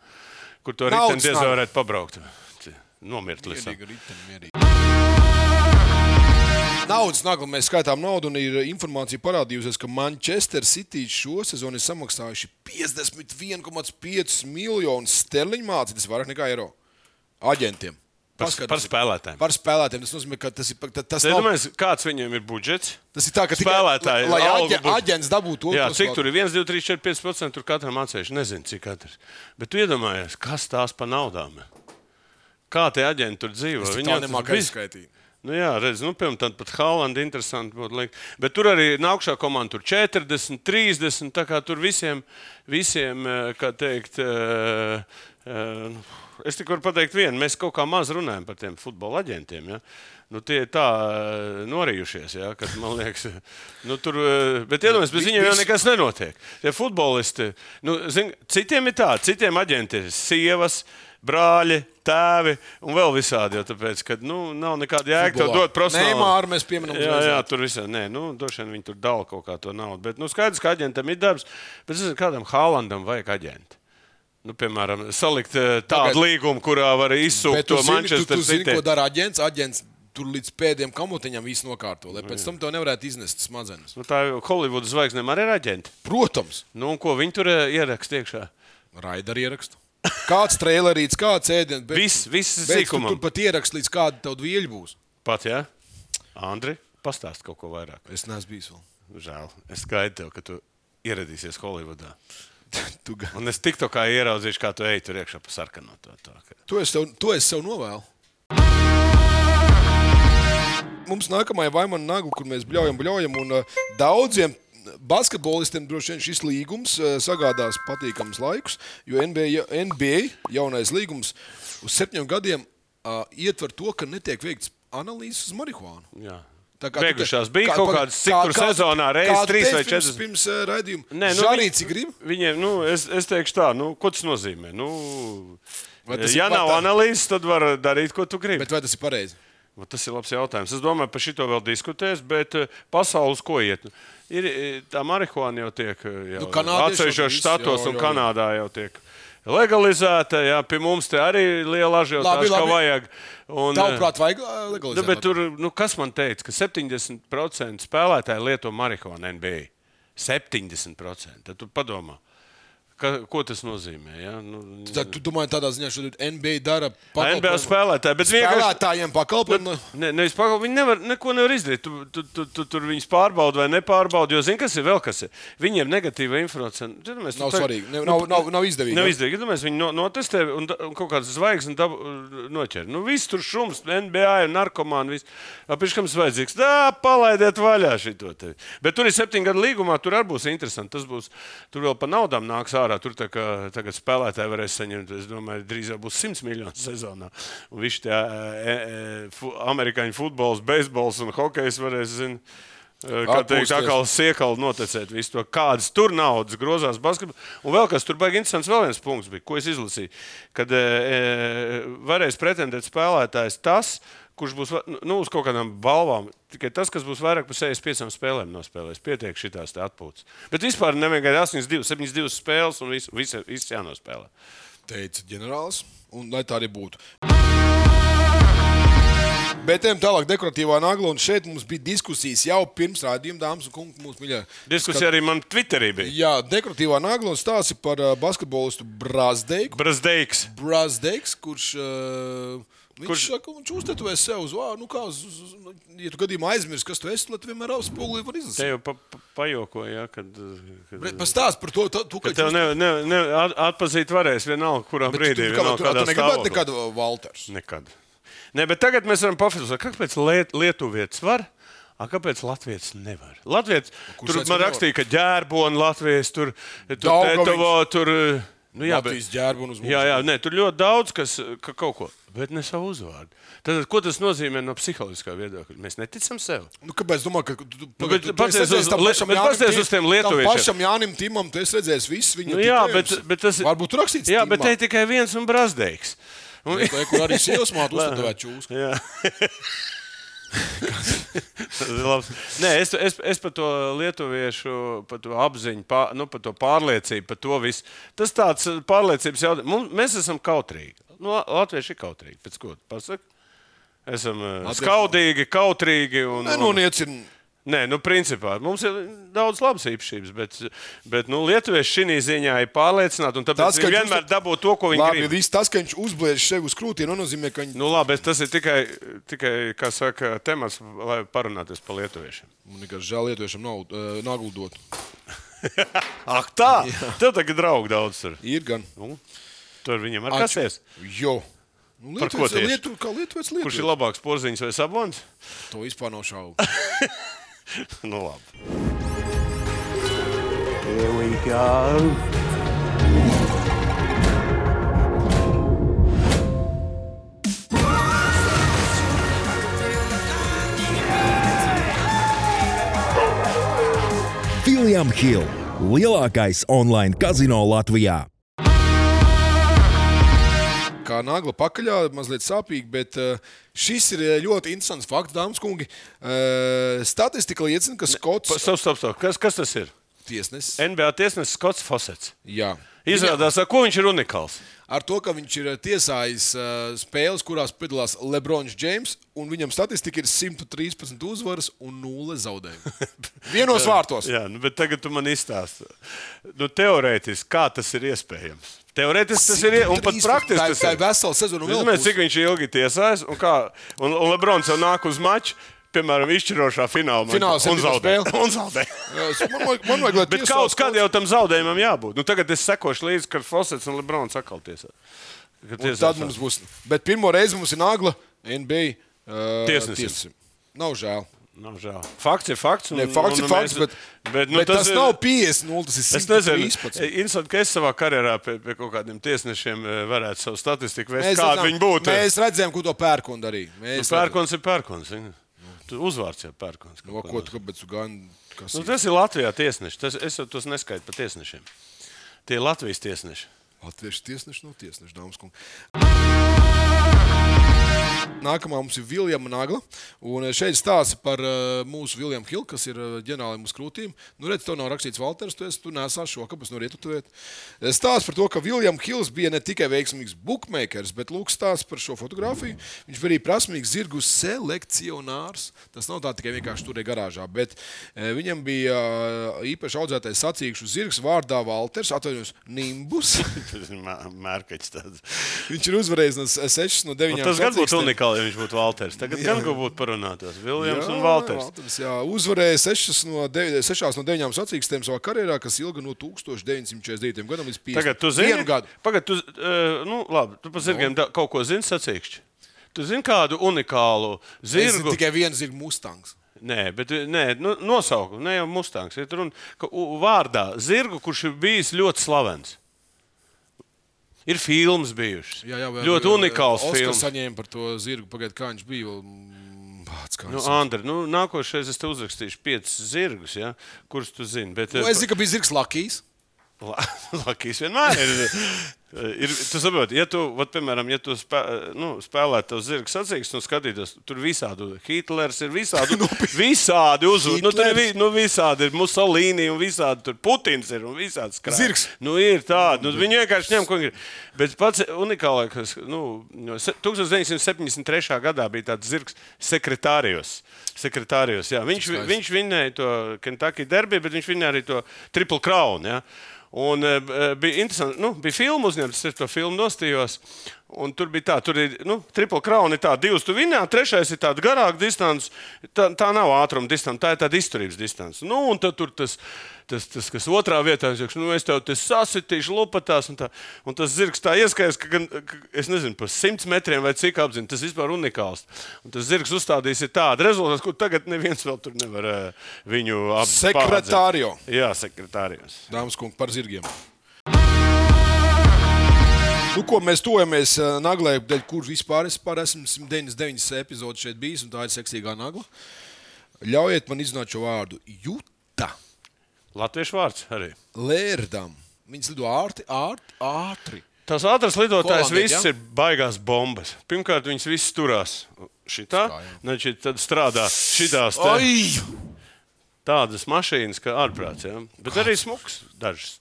[SPEAKER 2] kur to
[SPEAKER 3] Naudas
[SPEAKER 2] rītdien diez
[SPEAKER 3] nav.
[SPEAKER 2] vai varētu pabraukt. Ci, Nomirt līdz.
[SPEAKER 3] Mierīgi, ritem, mierīgi. Naudas nagla mēs skaitām naudu, un ir informācija parādījusies, ka Manchester City šo sezonu ir samaksājuši 51,5 miljonus sterliņu mācību. Tas ir vairāk nekā eiro aģentiem.
[SPEAKER 2] Par-
[SPEAKER 3] Paskatās-
[SPEAKER 2] par spēlētājiem.
[SPEAKER 3] Par spēlētājiem. Tas nozīmē, ka tas ir, pa- ta- tas
[SPEAKER 2] Es
[SPEAKER 3] nav,
[SPEAKER 2] domāju, kāds viņiem ir budžets.
[SPEAKER 3] tas ir tā, ka tikai-
[SPEAKER 2] spēlētāji,
[SPEAKER 3] lai
[SPEAKER 2] algu
[SPEAKER 3] aģe-
[SPEAKER 2] būtu.
[SPEAKER 3] aģents dabūtu to
[SPEAKER 2] Jā,
[SPEAKER 3] ko
[SPEAKER 2] cik
[SPEAKER 3] spēlē-
[SPEAKER 2] tur ir 1, 2, 3, 4, 5 procenti. Tur katram atsevišķi nezinu, cik katrs. Bet tu iedomājies, kas tās pa naudām? ir? Kā tie aģenti tur dzīvo?
[SPEAKER 3] Tā
[SPEAKER 2] Viņiem tas
[SPEAKER 3] nemākā
[SPEAKER 2] biz-
[SPEAKER 3] izskaitīt.
[SPEAKER 2] Nu, jā, redziet, nu, piemēram, tad pat Haalands ir interesanti. Būtu, liekt. bet tur arī nākamā komanda tur 40, 30. Tā kā tur visiem, visiem eh, kā teikt, eh, eh, nu, es tikai varu pateikt, vienu. Mēs kaut kā maz runājam par tiem futbola aģentiem. Ja? Nu, tie ir tā eh, norījušies, ja? kad man liekas, eh, nu, tur. eh, Bet iedomājieties, bez viņiem jau nekas nenotiek. Tie futbolisti, nu, zin, citiem ir tā, citiem aģentiem ir sievas brāļi, tēvi un vēl visādi. Jo tāpēc, ka nu, nav nekāda jēga to
[SPEAKER 3] Futbolā.
[SPEAKER 2] dot profesionāli.
[SPEAKER 3] Neimāru mēs pieminam
[SPEAKER 2] Jā,
[SPEAKER 3] uzreiz.
[SPEAKER 2] jā, tur visā. Nē, nu, droši vien viņi tur dala kaut kā to naudu. Bet nu, skaidrs, ka aģentam ir darbs. Bet es zinu, kādam Haalandam vajag aģentu. Nu, piemēram, salikt eh, tādu
[SPEAKER 3] Tagad-
[SPEAKER 2] līgumu, kurā var izsūkt
[SPEAKER 3] Bet tu
[SPEAKER 2] to
[SPEAKER 3] zini, tu,
[SPEAKER 2] Manchester
[SPEAKER 3] tu zini,
[SPEAKER 2] City.
[SPEAKER 3] ko dara aģents. Aģents tur līdz pēdējiem kamotiņam viss nokārto, lai pēc tam to nevarētu iznest smadzenes.
[SPEAKER 2] Nu, tā jau Holivudas zvaigznēm arī ir aģenti.
[SPEAKER 3] Protams,
[SPEAKER 2] Nu, un ko viņi tur eh, ierakst iekšā?
[SPEAKER 3] raidījā ierakstu. Kāds trailerīts, kāds ēdiens, bet
[SPEAKER 2] Viss, viss
[SPEAKER 3] bet tu
[SPEAKER 2] zīkumam.
[SPEAKER 3] tur pat ieraksts, līdz kāda tev vieļa būs.
[SPEAKER 2] Pat, jā? Andri, pastāst kaut ko vairāk.
[SPEAKER 3] Es neesmu bijis vēl.
[SPEAKER 2] Žēl. Es gaidu tev, ka tu ieradīsies Holivudā.
[SPEAKER 3] Tu, gan-
[SPEAKER 2] Un es tikko kā ieraudzīju, kā tu ej tur iekšā pa sarkanu. To, to, ka...
[SPEAKER 3] to, es tev, to es sev novēlu. Mums nākamā ir Vaimana Nagla, kur mēs bļaujam, bļaujam. Un, uh, daudziem basketbolistiem droši vien šis līgums uh, sagādās patīkamus laikus, jo NBA, ja- NBA jaunais līgums uz septiņiem gadiem uh, ietver to, ka netiek veikts analīzes uz marihuānu.
[SPEAKER 2] Jā.
[SPEAKER 3] Tā
[SPEAKER 2] kā Beigušās
[SPEAKER 3] tu te-
[SPEAKER 2] bija kaut
[SPEAKER 3] paga-
[SPEAKER 2] kādas, cik tur sezonā reizes,
[SPEAKER 3] kādu
[SPEAKER 2] trīs vai
[SPEAKER 3] teiktu pirms-
[SPEAKER 2] četras.
[SPEAKER 3] Pirms uh, raidījuma.
[SPEAKER 2] Nē, nu,
[SPEAKER 3] arī
[SPEAKER 2] viņ-
[SPEAKER 3] cik grib.
[SPEAKER 2] Viņiem, nu, es, es teikšu tā, nu, ko tas nozīmē. Nu, eh,
[SPEAKER 3] Vai tas
[SPEAKER 2] ja
[SPEAKER 3] ir
[SPEAKER 2] nav
[SPEAKER 3] pat tā?
[SPEAKER 2] analīzes, tad var darīt, ko tu gribi.
[SPEAKER 3] Bet vai tas ir pareizi?
[SPEAKER 2] Bet... Tas ir labs jautājums. Es domāju, par šito vēl diskutēs, bet eh, pasaules ko iet. Ir, eh, tā marihuāna jau tiek eh, jau
[SPEAKER 3] Nu, kanādieši jau
[SPEAKER 2] atsevišķos
[SPEAKER 3] visu,
[SPEAKER 2] štatos un
[SPEAKER 3] jau, jau.
[SPEAKER 2] Kanādā jau tiek. Legalizēta, jā, pie mums te arī liela
[SPEAKER 3] Labi,
[SPEAKER 2] ažiotāža, kā
[SPEAKER 3] labi.
[SPEAKER 2] vajag. Un, eh,
[SPEAKER 3] Tavuprāt, vajag uh,
[SPEAKER 2] Nu,
[SPEAKER 3] legalizēt?
[SPEAKER 2] bet tur, nu, kas man teica, ka 70% spēlētāji lieto marihuānu NBA? 70%. Tad tu padomā, ka, ko tas nozīmē. Ja? Nu,
[SPEAKER 3] Tad tu domā, tādā ziņā šodien NBA dara
[SPEAKER 2] NBA spēlētāji, bet vienkārši.
[SPEAKER 3] spēlētājiem nu. pakalpojumu.
[SPEAKER 2] Ne, nevis pakal, viņi nevar, neko nevar izdarīt. Tu, tu, tu, tu, tur viņus pārbaudi vai nepārbaudi. Jo zini, kas ir vēl kas ir. Viņiem negatīva informācija. Tad mēs
[SPEAKER 3] Nav
[SPEAKER 2] tu tā-
[SPEAKER 3] svarīgi. Ne- Nav, nav, nav izdevīgi.
[SPEAKER 2] Nav
[SPEAKER 3] ja?
[SPEAKER 2] izdevīgi. Domāju, viņi no, notestē un, da- un kaut kādas zvaigznes dabū- noķer. Nu, viss tur šums, NBA, un narkomāni. Apēc kam tas vajadzīgs? Tā, palaidiet vaļā šito. Te. Bet tur ir septiņu gadu līgumā, tur arī būs interesanti. Tas būs, tur vēl pa naudām nāks ārā. Tur tā kā tagad spēlētāji varēs saņemt, es domāju, drīz jau būs 100 miljonu sezonā. Un viss tie e, e, fu, amerikāņu futbols, beisbols un hokejs varēs, zin, e, kā teikt,
[SPEAKER 3] Atpūsties.
[SPEAKER 2] atkal siekalu noticēt visu to, kādas tur naudas grozās basketbolā. Un vēl kas tur baigi interesants, vēl viens punkts bija, ko es izlasīju. Kad e, e, varēs pretendēt spēlētājs tas, kurš būs va- nu, uz kaut kādām balvām, tikai tas, kas būs vairāk par 65 spēlēm nospēlējis. Pietiek šitās te atpūtas. Bet vispār nevajag 82, 72 spēles un viss vis, vis jānospēlē.
[SPEAKER 3] Teica ģenerālis, un lai tā arī būtu. Bet ejam tālāk, dekoratīvā nagla. Un šeit mums bija diskusijas jau pirms rādījuma, dāmas un kungi. Mūsu mīļā.
[SPEAKER 2] Diskusija arī man Twitterī bija.
[SPEAKER 3] Jā, dekoratīvā nagla un stāsti par uh, basketbolistu Brazdeiku.
[SPEAKER 2] Brazdeiks.
[SPEAKER 3] Brazdeiks, kurš. Uh, Viņš kurš...
[SPEAKER 2] Kurš-
[SPEAKER 3] saka, viņš uztetuvēs sev uz vārdu. Nu, kā, uz, uz, uz, ja tu gadījumā aizmirsti, kas tu esi, tad vienmēr apspūlī var izlasīt.
[SPEAKER 2] Te jau pa, pa, pajokoja, kad. kad...
[SPEAKER 3] Pastāst par to, tu, tu,
[SPEAKER 2] Ka tev ne, ne, ne, at- atpazīt varēs vienalga, kurā brīdī.
[SPEAKER 3] Tu,
[SPEAKER 2] vienalga
[SPEAKER 3] tu, tu,
[SPEAKER 2] kādā
[SPEAKER 3] tu negribētu
[SPEAKER 2] stāvoklī.
[SPEAKER 3] nekad uh, Valters.
[SPEAKER 2] Nekad. Ne, bet tagad mēs varam pafilozēt, kāpēc liet, lietuvietis var, A kāpēc Latvijas nevar? Latvijas
[SPEAKER 3] kurš
[SPEAKER 2] tur
[SPEAKER 3] teica,
[SPEAKER 2] man
[SPEAKER 3] ka
[SPEAKER 2] rakstīja, ka ģērbona Latvijas tur tur
[SPEAKER 3] Daugaviņš.
[SPEAKER 2] tetovo, tur. Nu, jā, bet,
[SPEAKER 3] Latvijas ģērbu un uz
[SPEAKER 2] jā, jā nē, tur ļoti daudz, kas ka kaut ko, bet ne savu uzvārdu. Tad, ko tas nozīmē no psiholoģiskā viedokļa? Mēs neticam sev.
[SPEAKER 3] Nu, kāpēc? Domā, ka, tu, tu,
[SPEAKER 2] Nu,
[SPEAKER 3] pagad,
[SPEAKER 2] bet
[SPEAKER 3] tu, tu
[SPEAKER 2] paties
[SPEAKER 3] esi redzējis
[SPEAKER 2] uz-
[SPEAKER 3] tam
[SPEAKER 2] le-
[SPEAKER 3] pašam
[SPEAKER 2] bet
[SPEAKER 3] Jānim
[SPEAKER 2] paties
[SPEAKER 3] Tim-
[SPEAKER 2] uz tiem
[SPEAKER 3] tam
[SPEAKER 2] lietuviešiem.
[SPEAKER 3] Pašam Jānim Timam, tu esi redzējis visu viņa
[SPEAKER 2] Nu, jā,
[SPEAKER 3] titējums.
[SPEAKER 2] bet, bet tas ir.
[SPEAKER 3] Varbūt tur rakstīts.
[SPEAKER 2] Jā, bet te
[SPEAKER 3] Timā.
[SPEAKER 2] ir tikai viens un brazdeiks. Un,
[SPEAKER 4] Lai kur arī sievas māte uzstādīja čūsku.
[SPEAKER 2] Jā. Tas ir labs. Nē, es, es, es par to lietuviešu par to apziņu, pār, nu, par to pārliecību, par to visu. Tas tāds eh, pārliecības jautājums. Mums, mēs esam kautrīgi. Nu, la- latvieši ir kautrīgi. Pēc ko? Pasaka. Esam eh,
[SPEAKER 3] Latvieši- nu,
[SPEAKER 2] skaudīgi, kautrīgi. Un, un,
[SPEAKER 3] Nenoniecini.
[SPEAKER 2] nē, nu, principā mums ir daudz labas īpašības, bet, bet nu, lietuvieši šī ziņā ir pārliecināti. un Tāpēc
[SPEAKER 3] Tas,
[SPEAKER 2] tas,
[SPEAKER 3] ka
[SPEAKER 2] viņi
[SPEAKER 3] jūs-
[SPEAKER 2] vienmēr dabū to, ko viņi
[SPEAKER 3] Labi,
[SPEAKER 2] grib.
[SPEAKER 3] viss tas, ka viņš uzbliež sev uz krūtīm, nenozīmē, ka viņš
[SPEAKER 2] Nu, labi, tas ir tikai, tikai kā saka, temats, lai parunātos par lietuviešiem.
[SPEAKER 3] Man vienkārši žēl lietuviešiem nav uh, naglu dot.
[SPEAKER 2] Ak, tā! Tev tagad draugi daudz tur.
[SPEAKER 3] Ir gan.
[SPEAKER 2] Nu, tur viņam ar kas ies?
[SPEAKER 3] Jo. Nu,
[SPEAKER 2] Par ko
[SPEAKER 3] Lietuvietis-
[SPEAKER 2] tieši?
[SPEAKER 3] Lietu, kā Lietuvietis lietu.
[SPEAKER 2] Kurš ir labāks porziņš vai sabons?
[SPEAKER 3] To vispār nav šaubu.
[SPEAKER 2] nu, labi.
[SPEAKER 6] Filiam Hill - lielākais online kazino Latvijā.
[SPEAKER 3] Kā nagla pakaļā, mazliet sāpīgi, bet eh, šis ir eh, ļoti interesants fakts, dāmas un kungi. Eh, Statistika liecina, ka
[SPEAKER 2] Pa- E-
[SPEAKER 3] Skots
[SPEAKER 2] Stop, stop, stop. Kas, kas tas ir?
[SPEAKER 3] tiesnesis
[SPEAKER 2] NBA tiesnesis Skots Fosets.
[SPEAKER 3] Jā.
[SPEAKER 2] Izrādās, ar ko viņš ir unikāls.
[SPEAKER 3] ar to, ka viņš ir eh, tiesājis eh, spēles, kurās piedalās Lebrons Džeims, un viņam statistika ir 113 uzvaras un 0 zaudējumu. Vienos vārtos.
[SPEAKER 2] Jā, nu, bet tagad tu man izstāsti. Nu, teorētiski, kā tas ir iespējams? Teorētiski tas ir ie- un pat
[SPEAKER 3] 113.
[SPEAKER 2] praktiski.
[SPEAKER 3] Tā-
[SPEAKER 2] tas
[SPEAKER 3] Tā
[SPEAKER 2] ir.
[SPEAKER 3] ir vesela sezona. un
[SPEAKER 2] Es
[SPEAKER 3] vēl
[SPEAKER 2] nezinu,
[SPEAKER 3] puse.
[SPEAKER 2] cik viņš ilgi tiesājas, un, kā, un, un Lebrons jau nāk uz maču, piemēram, izšķirošā finālā. man-
[SPEAKER 3] Fināls
[SPEAKER 2] un
[SPEAKER 3] ir
[SPEAKER 2] zaudē.
[SPEAKER 3] pirmā
[SPEAKER 2] Un zaudē.
[SPEAKER 3] Jā, es- Man vajag, man vajag lai
[SPEAKER 2] Bet
[SPEAKER 3] tiesā
[SPEAKER 2] kaut
[SPEAKER 3] Skots-
[SPEAKER 2] kad jau tam zaudējumam jābūt. Nu, tagad es sekošu līdzi, kad Fosets un Lebrons atkal tiesā. Kad
[SPEAKER 3] Un
[SPEAKER 2] tiesās
[SPEAKER 3] Tad
[SPEAKER 2] tā.
[SPEAKER 3] mums būs. Bet pirmo reizi mums ir nagla NBA uh,
[SPEAKER 2] Tiesnesim.
[SPEAKER 3] Nav žēl.
[SPEAKER 2] Nav žēl. Fakts ir fakts. Un,
[SPEAKER 3] Ne, fakts
[SPEAKER 2] un,
[SPEAKER 3] ir
[SPEAKER 2] un
[SPEAKER 3] fakts,
[SPEAKER 2] Nu, mēs-
[SPEAKER 3] bet,
[SPEAKER 2] bet, nu,
[SPEAKER 3] bet tas, tas
[SPEAKER 2] ir-
[SPEAKER 3] nav 50, 0, tas ir
[SPEAKER 2] Es nezinu,
[SPEAKER 3] 113.
[SPEAKER 2] Instant, ka es savā karjerā pie, pie kaut kādiem tiesnešiem eh, varētu savu statistiku vest, e,
[SPEAKER 3] Mēs
[SPEAKER 2] kāda
[SPEAKER 3] zinām-
[SPEAKER 2] viņi būtu.
[SPEAKER 3] Mēs redzējām, ko to pērkonu darīja.
[SPEAKER 2] Nu,
[SPEAKER 3] Mēs
[SPEAKER 2] Pērkons ir pērkons. viņa. Tu Uzvārds jau pērkons.
[SPEAKER 3] redzējām. No, ko tu kāpēc tu gan? Kas
[SPEAKER 2] Nu,
[SPEAKER 3] nu, ir?
[SPEAKER 2] tas ir Latvijā tiesneši. Tas, es jau tos neskaitu par tiesnešiem. Tie ir Latvijas tiesneši.
[SPEAKER 3] Latviešu tiesneši nav tiesneši, dāmas un kungi. Nākamā mums ir Viljama Nagla. Un šeit stāsta par uh, mūsu Viljamu Hilu, kas ir uh, ģenerālim uz krūtīm. Nu, redz, tev nav rakstīts Valters, tu, esi- tu nesā šo kāpēc no rīta tuvēt. Stāsts par to, ka Viljams Hils bija ne tikai veiksmīgs bookmakers, bet lūk, stāsts par šo fotografiju. Viņš bija arī prasmīgs zirgu selekcionārs. Tas nav tā tikai vienkārši turē garāžā, bet eh, viņam bija eh, īpaši audzētais sacīkšu zirgs vārdā Valters, atvainojos, Nimbus.
[SPEAKER 2] Tas ir mē- Mērķis tāds.
[SPEAKER 3] Viņš ir uzvarējis no 6 no 9.
[SPEAKER 2] Nu, tas gan būtu unikāli, ja viņš būtu Valters. Tagad jā. gan būtu parunātos. Viljams un Valters.
[SPEAKER 3] Valters jā, uzvarēja 6 no 9, 6 no 9 sacīkstiem savā karjerā, kas ilga no 1949. gadam līdz 50.
[SPEAKER 2] Tagad tu zini,
[SPEAKER 3] Vienu gadu.
[SPEAKER 2] Pagad, tu, uh, nu, labi, tu par zirgiem no. kaut ko zini sacīkšķi. Tu zini kādu unikālu
[SPEAKER 3] Es zinu
[SPEAKER 2] zirgu.
[SPEAKER 3] tikai viens zirgu mustangs.
[SPEAKER 2] Nē, bet nē, nu, nosaukumu ne jau Mustangs. Ir runa par vārdā zirgu, kurš ir bijis ļoti slavens. Ir filmas bijušas.
[SPEAKER 3] Jā, jā, vēl- eh,
[SPEAKER 2] ļoti
[SPEAKER 3] vēl-
[SPEAKER 2] unikāls
[SPEAKER 3] Oskaru
[SPEAKER 2] filmas.
[SPEAKER 3] saņēma par to zirgu. Pagaidiet, kā viņš bija. vēl, mm, Bāc, kā
[SPEAKER 2] Nu,
[SPEAKER 3] viņš-
[SPEAKER 2] Andri, nu, nākošais es tev uzrakstīšu piecus zirgus, ja, kurus tu zini. Bet, eh,
[SPEAKER 3] Nu, es zinu, ka bija zirgs Lakijs.
[SPEAKER 2] La- Lakijs vienmēr ir. ir tu saproti, ja tu, vat, piemēram, ja tu spē, nu, spēlētu to zirga sacīkstu un skatītos, tur visādi Hitlers ir visādi, visādi uzvārdi. Nu, tur ir vi- nu, visādi ir Musolīni un visādi tur Putins ir un visādi skrēja.
[SPEAKER 3] Zirgs.
[SPEAKER 2] Nu, ir tādi. Nu, viņi vienkārši ņem, ko viņi grib. Bet pats unikālākais, nu, no se- 1973. gadā bija tāds zirgs sekretārijos. Sekretārijos, jā. Viņš, vi- viņš vinnēja to Kentucky e, derbi, bet viņš vinnēja arī to Triple Crown. Jā. Un eh, b- eh, bija interesanti, nu, bija filma uzņemta. aizņemts, es to filmu nostījos. Un tur bija tā, tur ir nu, tripla krauna, ir tā, divas tu vinā, trešais ir tāda garāka distance. Tā, tā nav ātruma distance, tā ir tāda izturības distance. Nu, un tad tur tas, tas, tas kas otrā vietā, es saku, nu, es tev te sasitīšu lupatās. Un, tā, un tas zirgs tā ieskaits, ka gan, ka, es nezinu, par simts metriem vai cik apziņā, tas vispār unikāls. Un tas zirgs uzstādījis ir tādu rezultātu, kur tagad neviens vēl tur nevar eh, viņu apzīmēt.
[SPEAKER 3] Sekretārio.
[SPEAKER 2] Jā, sekretārijos.
[SPEAKER 3] Dāmas kungi par zirgiem. Nu, ko mēs tojamies eh, naglai, dēļ, kur vispār es vispār esmu 199 epizodes šeit bijis, un tā ir seksīgā nagla. Ļaujiet man izrunāt šo vārdu. Juta
[SPEAKER 2] Latviešu vārds arī.
[SPEAKER 3] lērdam. Viņas lido ātri, ātri, ātri.
[SPEAKER 2] Tas ātrs lidotājs
[SPEAKER 4] Holandija,
[SPEAKER 2] viss
[SPEAKER 4] jā?
[SPEAKER 2] ir baigās bombas. Pirmkārt, viņas visas turās. Šitā, neči, tad strādā šitās te-
[SPEAKER 4] Ai!
[SPEAKER 2] tādas mašīnas, kā ārprāts. Ja? Bet arī smuks dažas.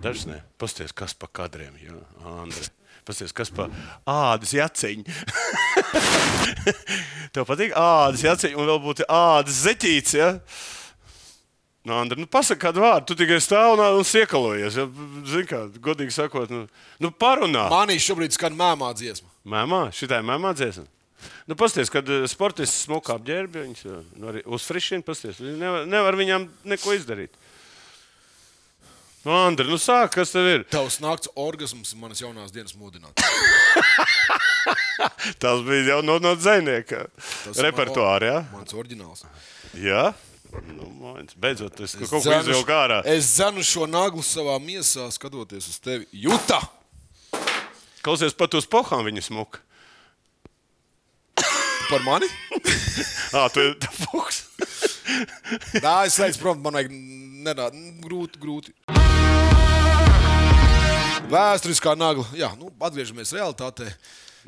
[SPEAKER 2] Dažas nē, pasties, kas pa kadriem ir. Pasties, kas pa ādas jaciņu. Tev patīk ādas jaciņa un vēl būtu ādas zeķīts. Ja? Nu, Andri, nu pasaki, kādu vārdu tu tikai stāv un, un iekalojies. Ja? Zini, kā, godīgi sakot, nu, nu parunā.
[SPEAKER 3] Manī šobrīd skan mēmā dziesma.
[SPEAKER 2] Mēmā, šitā ir mēmā dziesma. Nu, pasties, kad eh, sportists smukā apģērbja, viņš eh, nu, arī uz frišiem pasties. Viņi Nevar, nevar viņam neko izdarīt. Nu, Andri, nu sāk, kas tev ir?
[SPEAKER 3] Tavs nakts orgasms ir manas jaunās dienas modinājums.
[SPEAKER 2] Tas bija jau no, no dzinieka repertuārā.
[SPEAKER 3] Mans oriģināls.
[SPEAKER 2] Jā, jā? Nu, mans, beidzot, es
[SPEAKER 3] Es
[SPEAKER 2] kaut ko
[SPEAKER 3] dzenu-
[SPEAKER 2] izvilku ārā.
[SPEAKER 3] Es zinu šo naglu savā miesā, skatoties uz tevi. Juta!
[SPEAKER 2] Klausies, pat uz pohām viņa smuka.
[SPEAKER 3] Par mani?
[SPEAKER 2] Ā, tu esi puks.
[SPEAKER 3] Nē, es leidzu prom, man vajag nerādu. Grūti, grūti. Vēsturiskā nagla. Jā, nu, atgriežamies realitātē.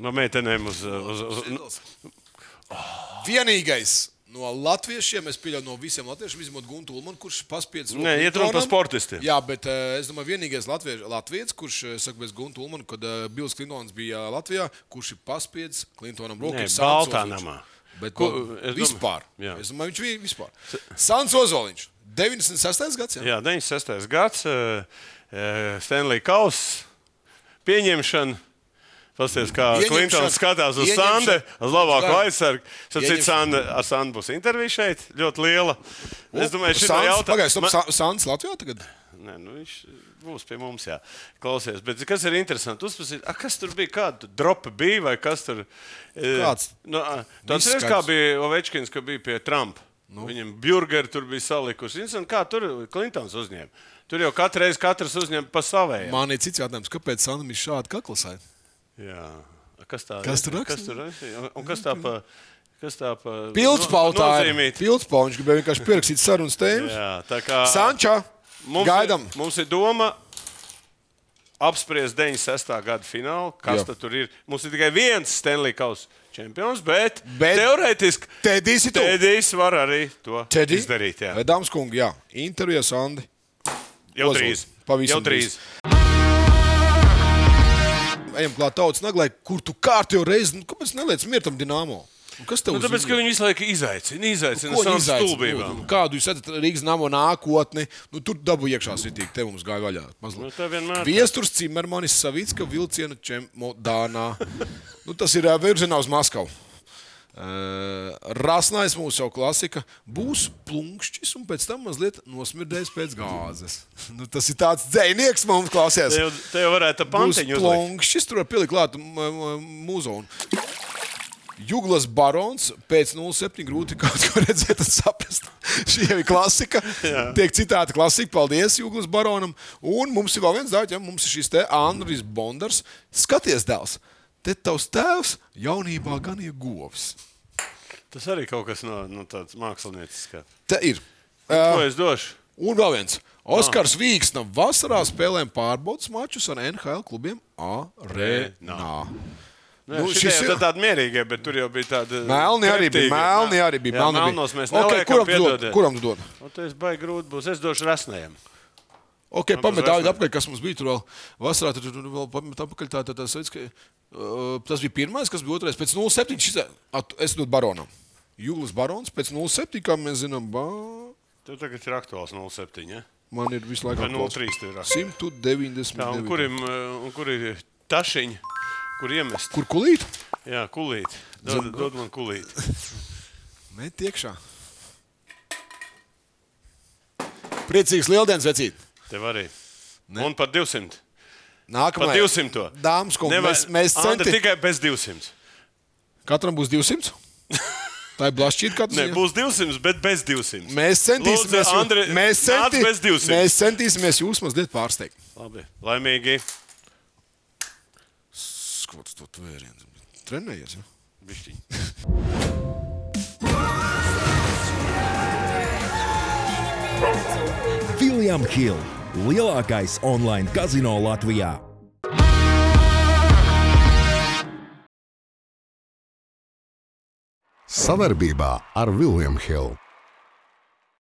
[SPEAKER 2] No meitenēm uz, eh, uz, uz, uz,
[SPEAKER 3] Vienīgais no latviešiem, es pieļauju no visiem latviešiem, izņemot Guntu Ulmanu, kurš paspiedz roku
[SPEAKER 2] Nē, iet runa par
[SPEAKER 3] Viktoram.
[SPEAKER 2] sportistiem.
[SPEAKER 3] Jā, bet eh, es domāju, vienīgais latviešu, latviečs, kurš eh, saka, bez Guntu Ulmanu, kad eh, Bils Klintons bija Latvijā, kurš ir paspiedz Klintonam roku.
[SPEAKER 2] Nē,
[SPEAKER 3] ir Sants
[SPEAKER 2] Baltā
[SPEAKER 3] Ozoliņš.
[SPEAKER 2] namā.
[SPEAKER 3] Bet
[SPEAKER 2] Ko-
[SPEAKER 3] Ko,
[SPEAKER 2] es domāju-
[SPEAKER 3] vispār.
[SPEAKER 2] Jā.
[SPEAKER 3] Domāju, es domāju, viņš bija vispār. Sants Ozoliņš, 96. gads. Jā.
[SPEAKER 2] Jā, 96. gads, eh, Stanley Kausa pieņemšana. Pasties, kā
[SPEAKER 3] Ieņemšana.
[SPEAKER 2] Klintons skatās uz
[SPEAKER 3] Ieņemšana.
[SPEAKER 2] Sandu, uz labāko
[SPEAKER 3] Gan.
[SPEAKER 2] aizsargu. Sacīt,
[SPEAKER 3] Ieņemšana.
[SPEAKER 2] Sanda, ar Sandu būs intervija šeit, ļoti liela. Es domāju, šī ir
[SPEAKER 3] Pagaidām,
[SPEAKER 2] jautājums.
[SPEAKER 3] stop, Sants Latvijā tagad.
[SPEAKER 2] Nē, nu viņš būs pie mums, jā. Klausies, bet kas ir interesanti? Uzpasīt, a, kas tur bija? Kāda dropa bija vai kas tur? e,
[SPEAKER 3] Kāds?
[SPEAKER 2] Nu, a, tu
[SPEAKER 3] Viss
[SPEAKER 2] atceries, kā
[SPEAKER 3] skaidrs.
[SPEAKER 2] bija Ovečkins, kad bija pie Trumpa? Nu. Viņam burgeri tur bija salikuši. Interesanti, kā tur Klintons uzņēma. Tur jau katru reizi katrs uzņem pa savējiem.
[SPEAKER 3] Man ir cits jautājums, kāpēc Sanam ir šādi kaklasai?
[SPEAKER 2] Jā. A, Kas, tā,
[SPEAKER 3] Kas tur
[SPEAKER 2] Kas
[SPEAKER 3] raksta?
[SPEAKER 2] tur rakstīja? Un- Un kas tā pa... Kas tā pa...
[SPEAKER 3] Pildspaltā.
[SPEAKER 2] no- nozīmīt?
[SPEAKER 3] Pildspaltā viņš gribēja vienkārši pierakstīt sarunas tēmas.
[SPEAKER 2] Jā, tā kā...
[SPEAKER 3] Sančā,
[SPEAKER 2] Mums
[SPEAKER 3] gaidām!
[SPEAKER 2] Ir, mums ir doma apspriest 96. gada finālu, kas
[SPEAKER 3] Jā.
[SPEAKER 2] tad tur ir. Mums ir tikai viens Stanley Kausa čempions, bet, bet
[SPEAKER 3] Bet
[SPEAKER 2] teorētiski
[SPEAKER 3] Tēdīs ir tu!
[SPEAKER 2] Tēdijs var arī to
[SPEAKER 3] Teddy?
[SPEAKER 2] izdarīt. Jā.
[SPEAKER 3] Dāmas kungi, jā. Intervijas Andi.
[SPEAKER 2] Jau
[SPEAKER 3] Ozols.
[SPEAKER 2] drīz.
[SPEAKER 3] Pavisam
[SPEAKER 2] Jau drīz.
[SPEAKER 3] Ejam klāt tautas naglai, kur tu kārtējo reizi, nu, kāpēc neliec mietam dināmo? Un Kas tev
[SPEAKER 2] Nu,
[SPEAKER 3] uz
[SPEAKER 2] tāpēc, ka
[SPEAKER 3] uzmanību?
[SPEAKER 2] viņi visu laiku izaicina, izaicina
[SPEAKER 3] Ko
[SPEAKER 2] savām
[SPEAKER 3] viņi izaicina?
[SPEAKER 2] stulbībām.
[SPEAKER 3] Nu, Kādu jūs redzat Rīgas nama nākotni? Nu, tur dabū iekšā sitīgi, te mums gāja vaļā. mazliet.
[SPEAKER 2] Nu, tā vienmēr tā.
[SPEAKER 3] Viesturs Cimermanis Savicka vilciena čemodānā. nu, tas ir ā, virzienā uz Maskavu. Uh, Rasnājs mūsu jau klasika. Būs plunkšķis un pēc tam mazliet nosmirdējis pēc gāzes. nu, tas ir tāds dzinieks mums
[SPEAKER 2] Te
[SPEAKER 3] klāsies.
[SPEAKER 2] jau, te jau varētu
[SPEAKER 3] Būs
[SPEAKER 2] pantiņu uzlikt.
[SPEAKER 3] plunkšķis, tur var pielikt klāt m- m- muzonu. Juglas barons pēc 07 grūti kaut ko redzēt un saprast. Šī jau ir klasika. Tiek citāta klasika. Paldies Juglas baronam. Un mums ir vēl viens dārķis, ja mums ir šis te Andris Bondars. Skaties, dēls, te tavs tēvs jaunībā gan ir govs.
[SPEAKER 2] Tas arī kaut kas no, no tādas mākslinieciskas.
[SPEAKER 3] Te ir.
[SPEAKER 2] Nu, Ko es došu?
[SPEAKER 3] Un vēl viens. Oskars Vīgs nav vasarā spēlēm pārbaudas mačus ar NHL klubiem arēnā.
[SPEAKER 2] Nē, nu, šis ir tāds mierīgs, bet tur jau bija tāda.
[SPEAKER 3] Melni arī bija.
[SPEAKER 2] kriptīga.
[SPEAKER 3] Melni arī bija.
[SPEAKER 2] Jā,
[SPEAKER 3] melni bija.
[SPEAKER 2] melnos mēs
[SPEAKER 3] Ok,
[SPEAKER 2] okay,
[SPEAKER 3] kuram tu
[SPEAKER 2] neliekam.
[SPEAKER 3] dod? Kuram tu dod?
[SPEAKER 2] Tas bija grūti. Būs. Nu, Es došu rasnēm.
[SPEAKER 3] Ok,
[SPEAKER 2] tas
[SPEAKER 3] pamet tādu
[SPEAKER 2] vairs
[SPEAKER 3] apkārt, kas mums bija tur vēl vasarā. Tur tur vēl pamet apkārt tā, tā, tā, tā, uh, tas bija pirmais, kas bija otrais. Pēc 07. Šis, at, es dodu baronam. Jūlis Barons pēc 07. kā mēs zinām. Ba...
[SPEAKER 2] Tur tagad ir aktuāls 07. Ja?
[SPEAKER 3] Man ir visu laiku
[SPEAKER 2] Vai 0,3 tev ir
[SPEAKER 3] atklāts.
[SPEAKER 2] atklāts?
[SPEAKER 3] 199.
[SPEAKER 2] Jā, un kur ir, uh, un kur ir tašiņi, kur iemest?
[SPEAKER 3] Kur kulīt?
[SPEAKER 2] Jā, kulīt. Dod, dod man kulīt.
[SPEAKER 3] Met iekšā.
[SPEAKER 4] Priecīgs lieldienas vecīt.
[SPEAKER 2] Tev arī. Un par 200. Par
[SPEAKER 3] Nākamā
[SPEAKER 2] 200.
[SPEAKER 3] Dāmas kungi, mēs, mēs
[SPEAKER 2] Anda
[SPEAKER 3] centi...
[SPEAKER 2] tikai bez 200.
[SPEAKER 3] Katram būs 200. Tā ir blašķīta
[SPEAKER 2] Nē,
[SPEAKER 3] katrs.
[SPEAKER 2] būs 200, bet bez 200.
[SPEAKER 3] Mēs centīsimies,
[SPEAKER 2] Lūdzu,
[SPEAKER 3] jū-
[SPEAKER 2] Andri,
[SPEAKER 3] mēs,
[SPEAKER 2] nāc
[SPEAKER 3] centi...
[SPEAKER 2] bez 200.
[SPEAKER 3] mēs centīsimies jūs mazliet pārsteigt.
[SPEAKER 2] Labi, laimīgi.
[SPEAKER 3] Skots to tvērienu. Trenējies. Ja?
[SPEAKER 2] Bišķiņ.
[SPEAKER 6] William Hill, lielākais online kazino Latvijā.
[SPEAKER 1] Savarbībā ar Viljumu Hildu.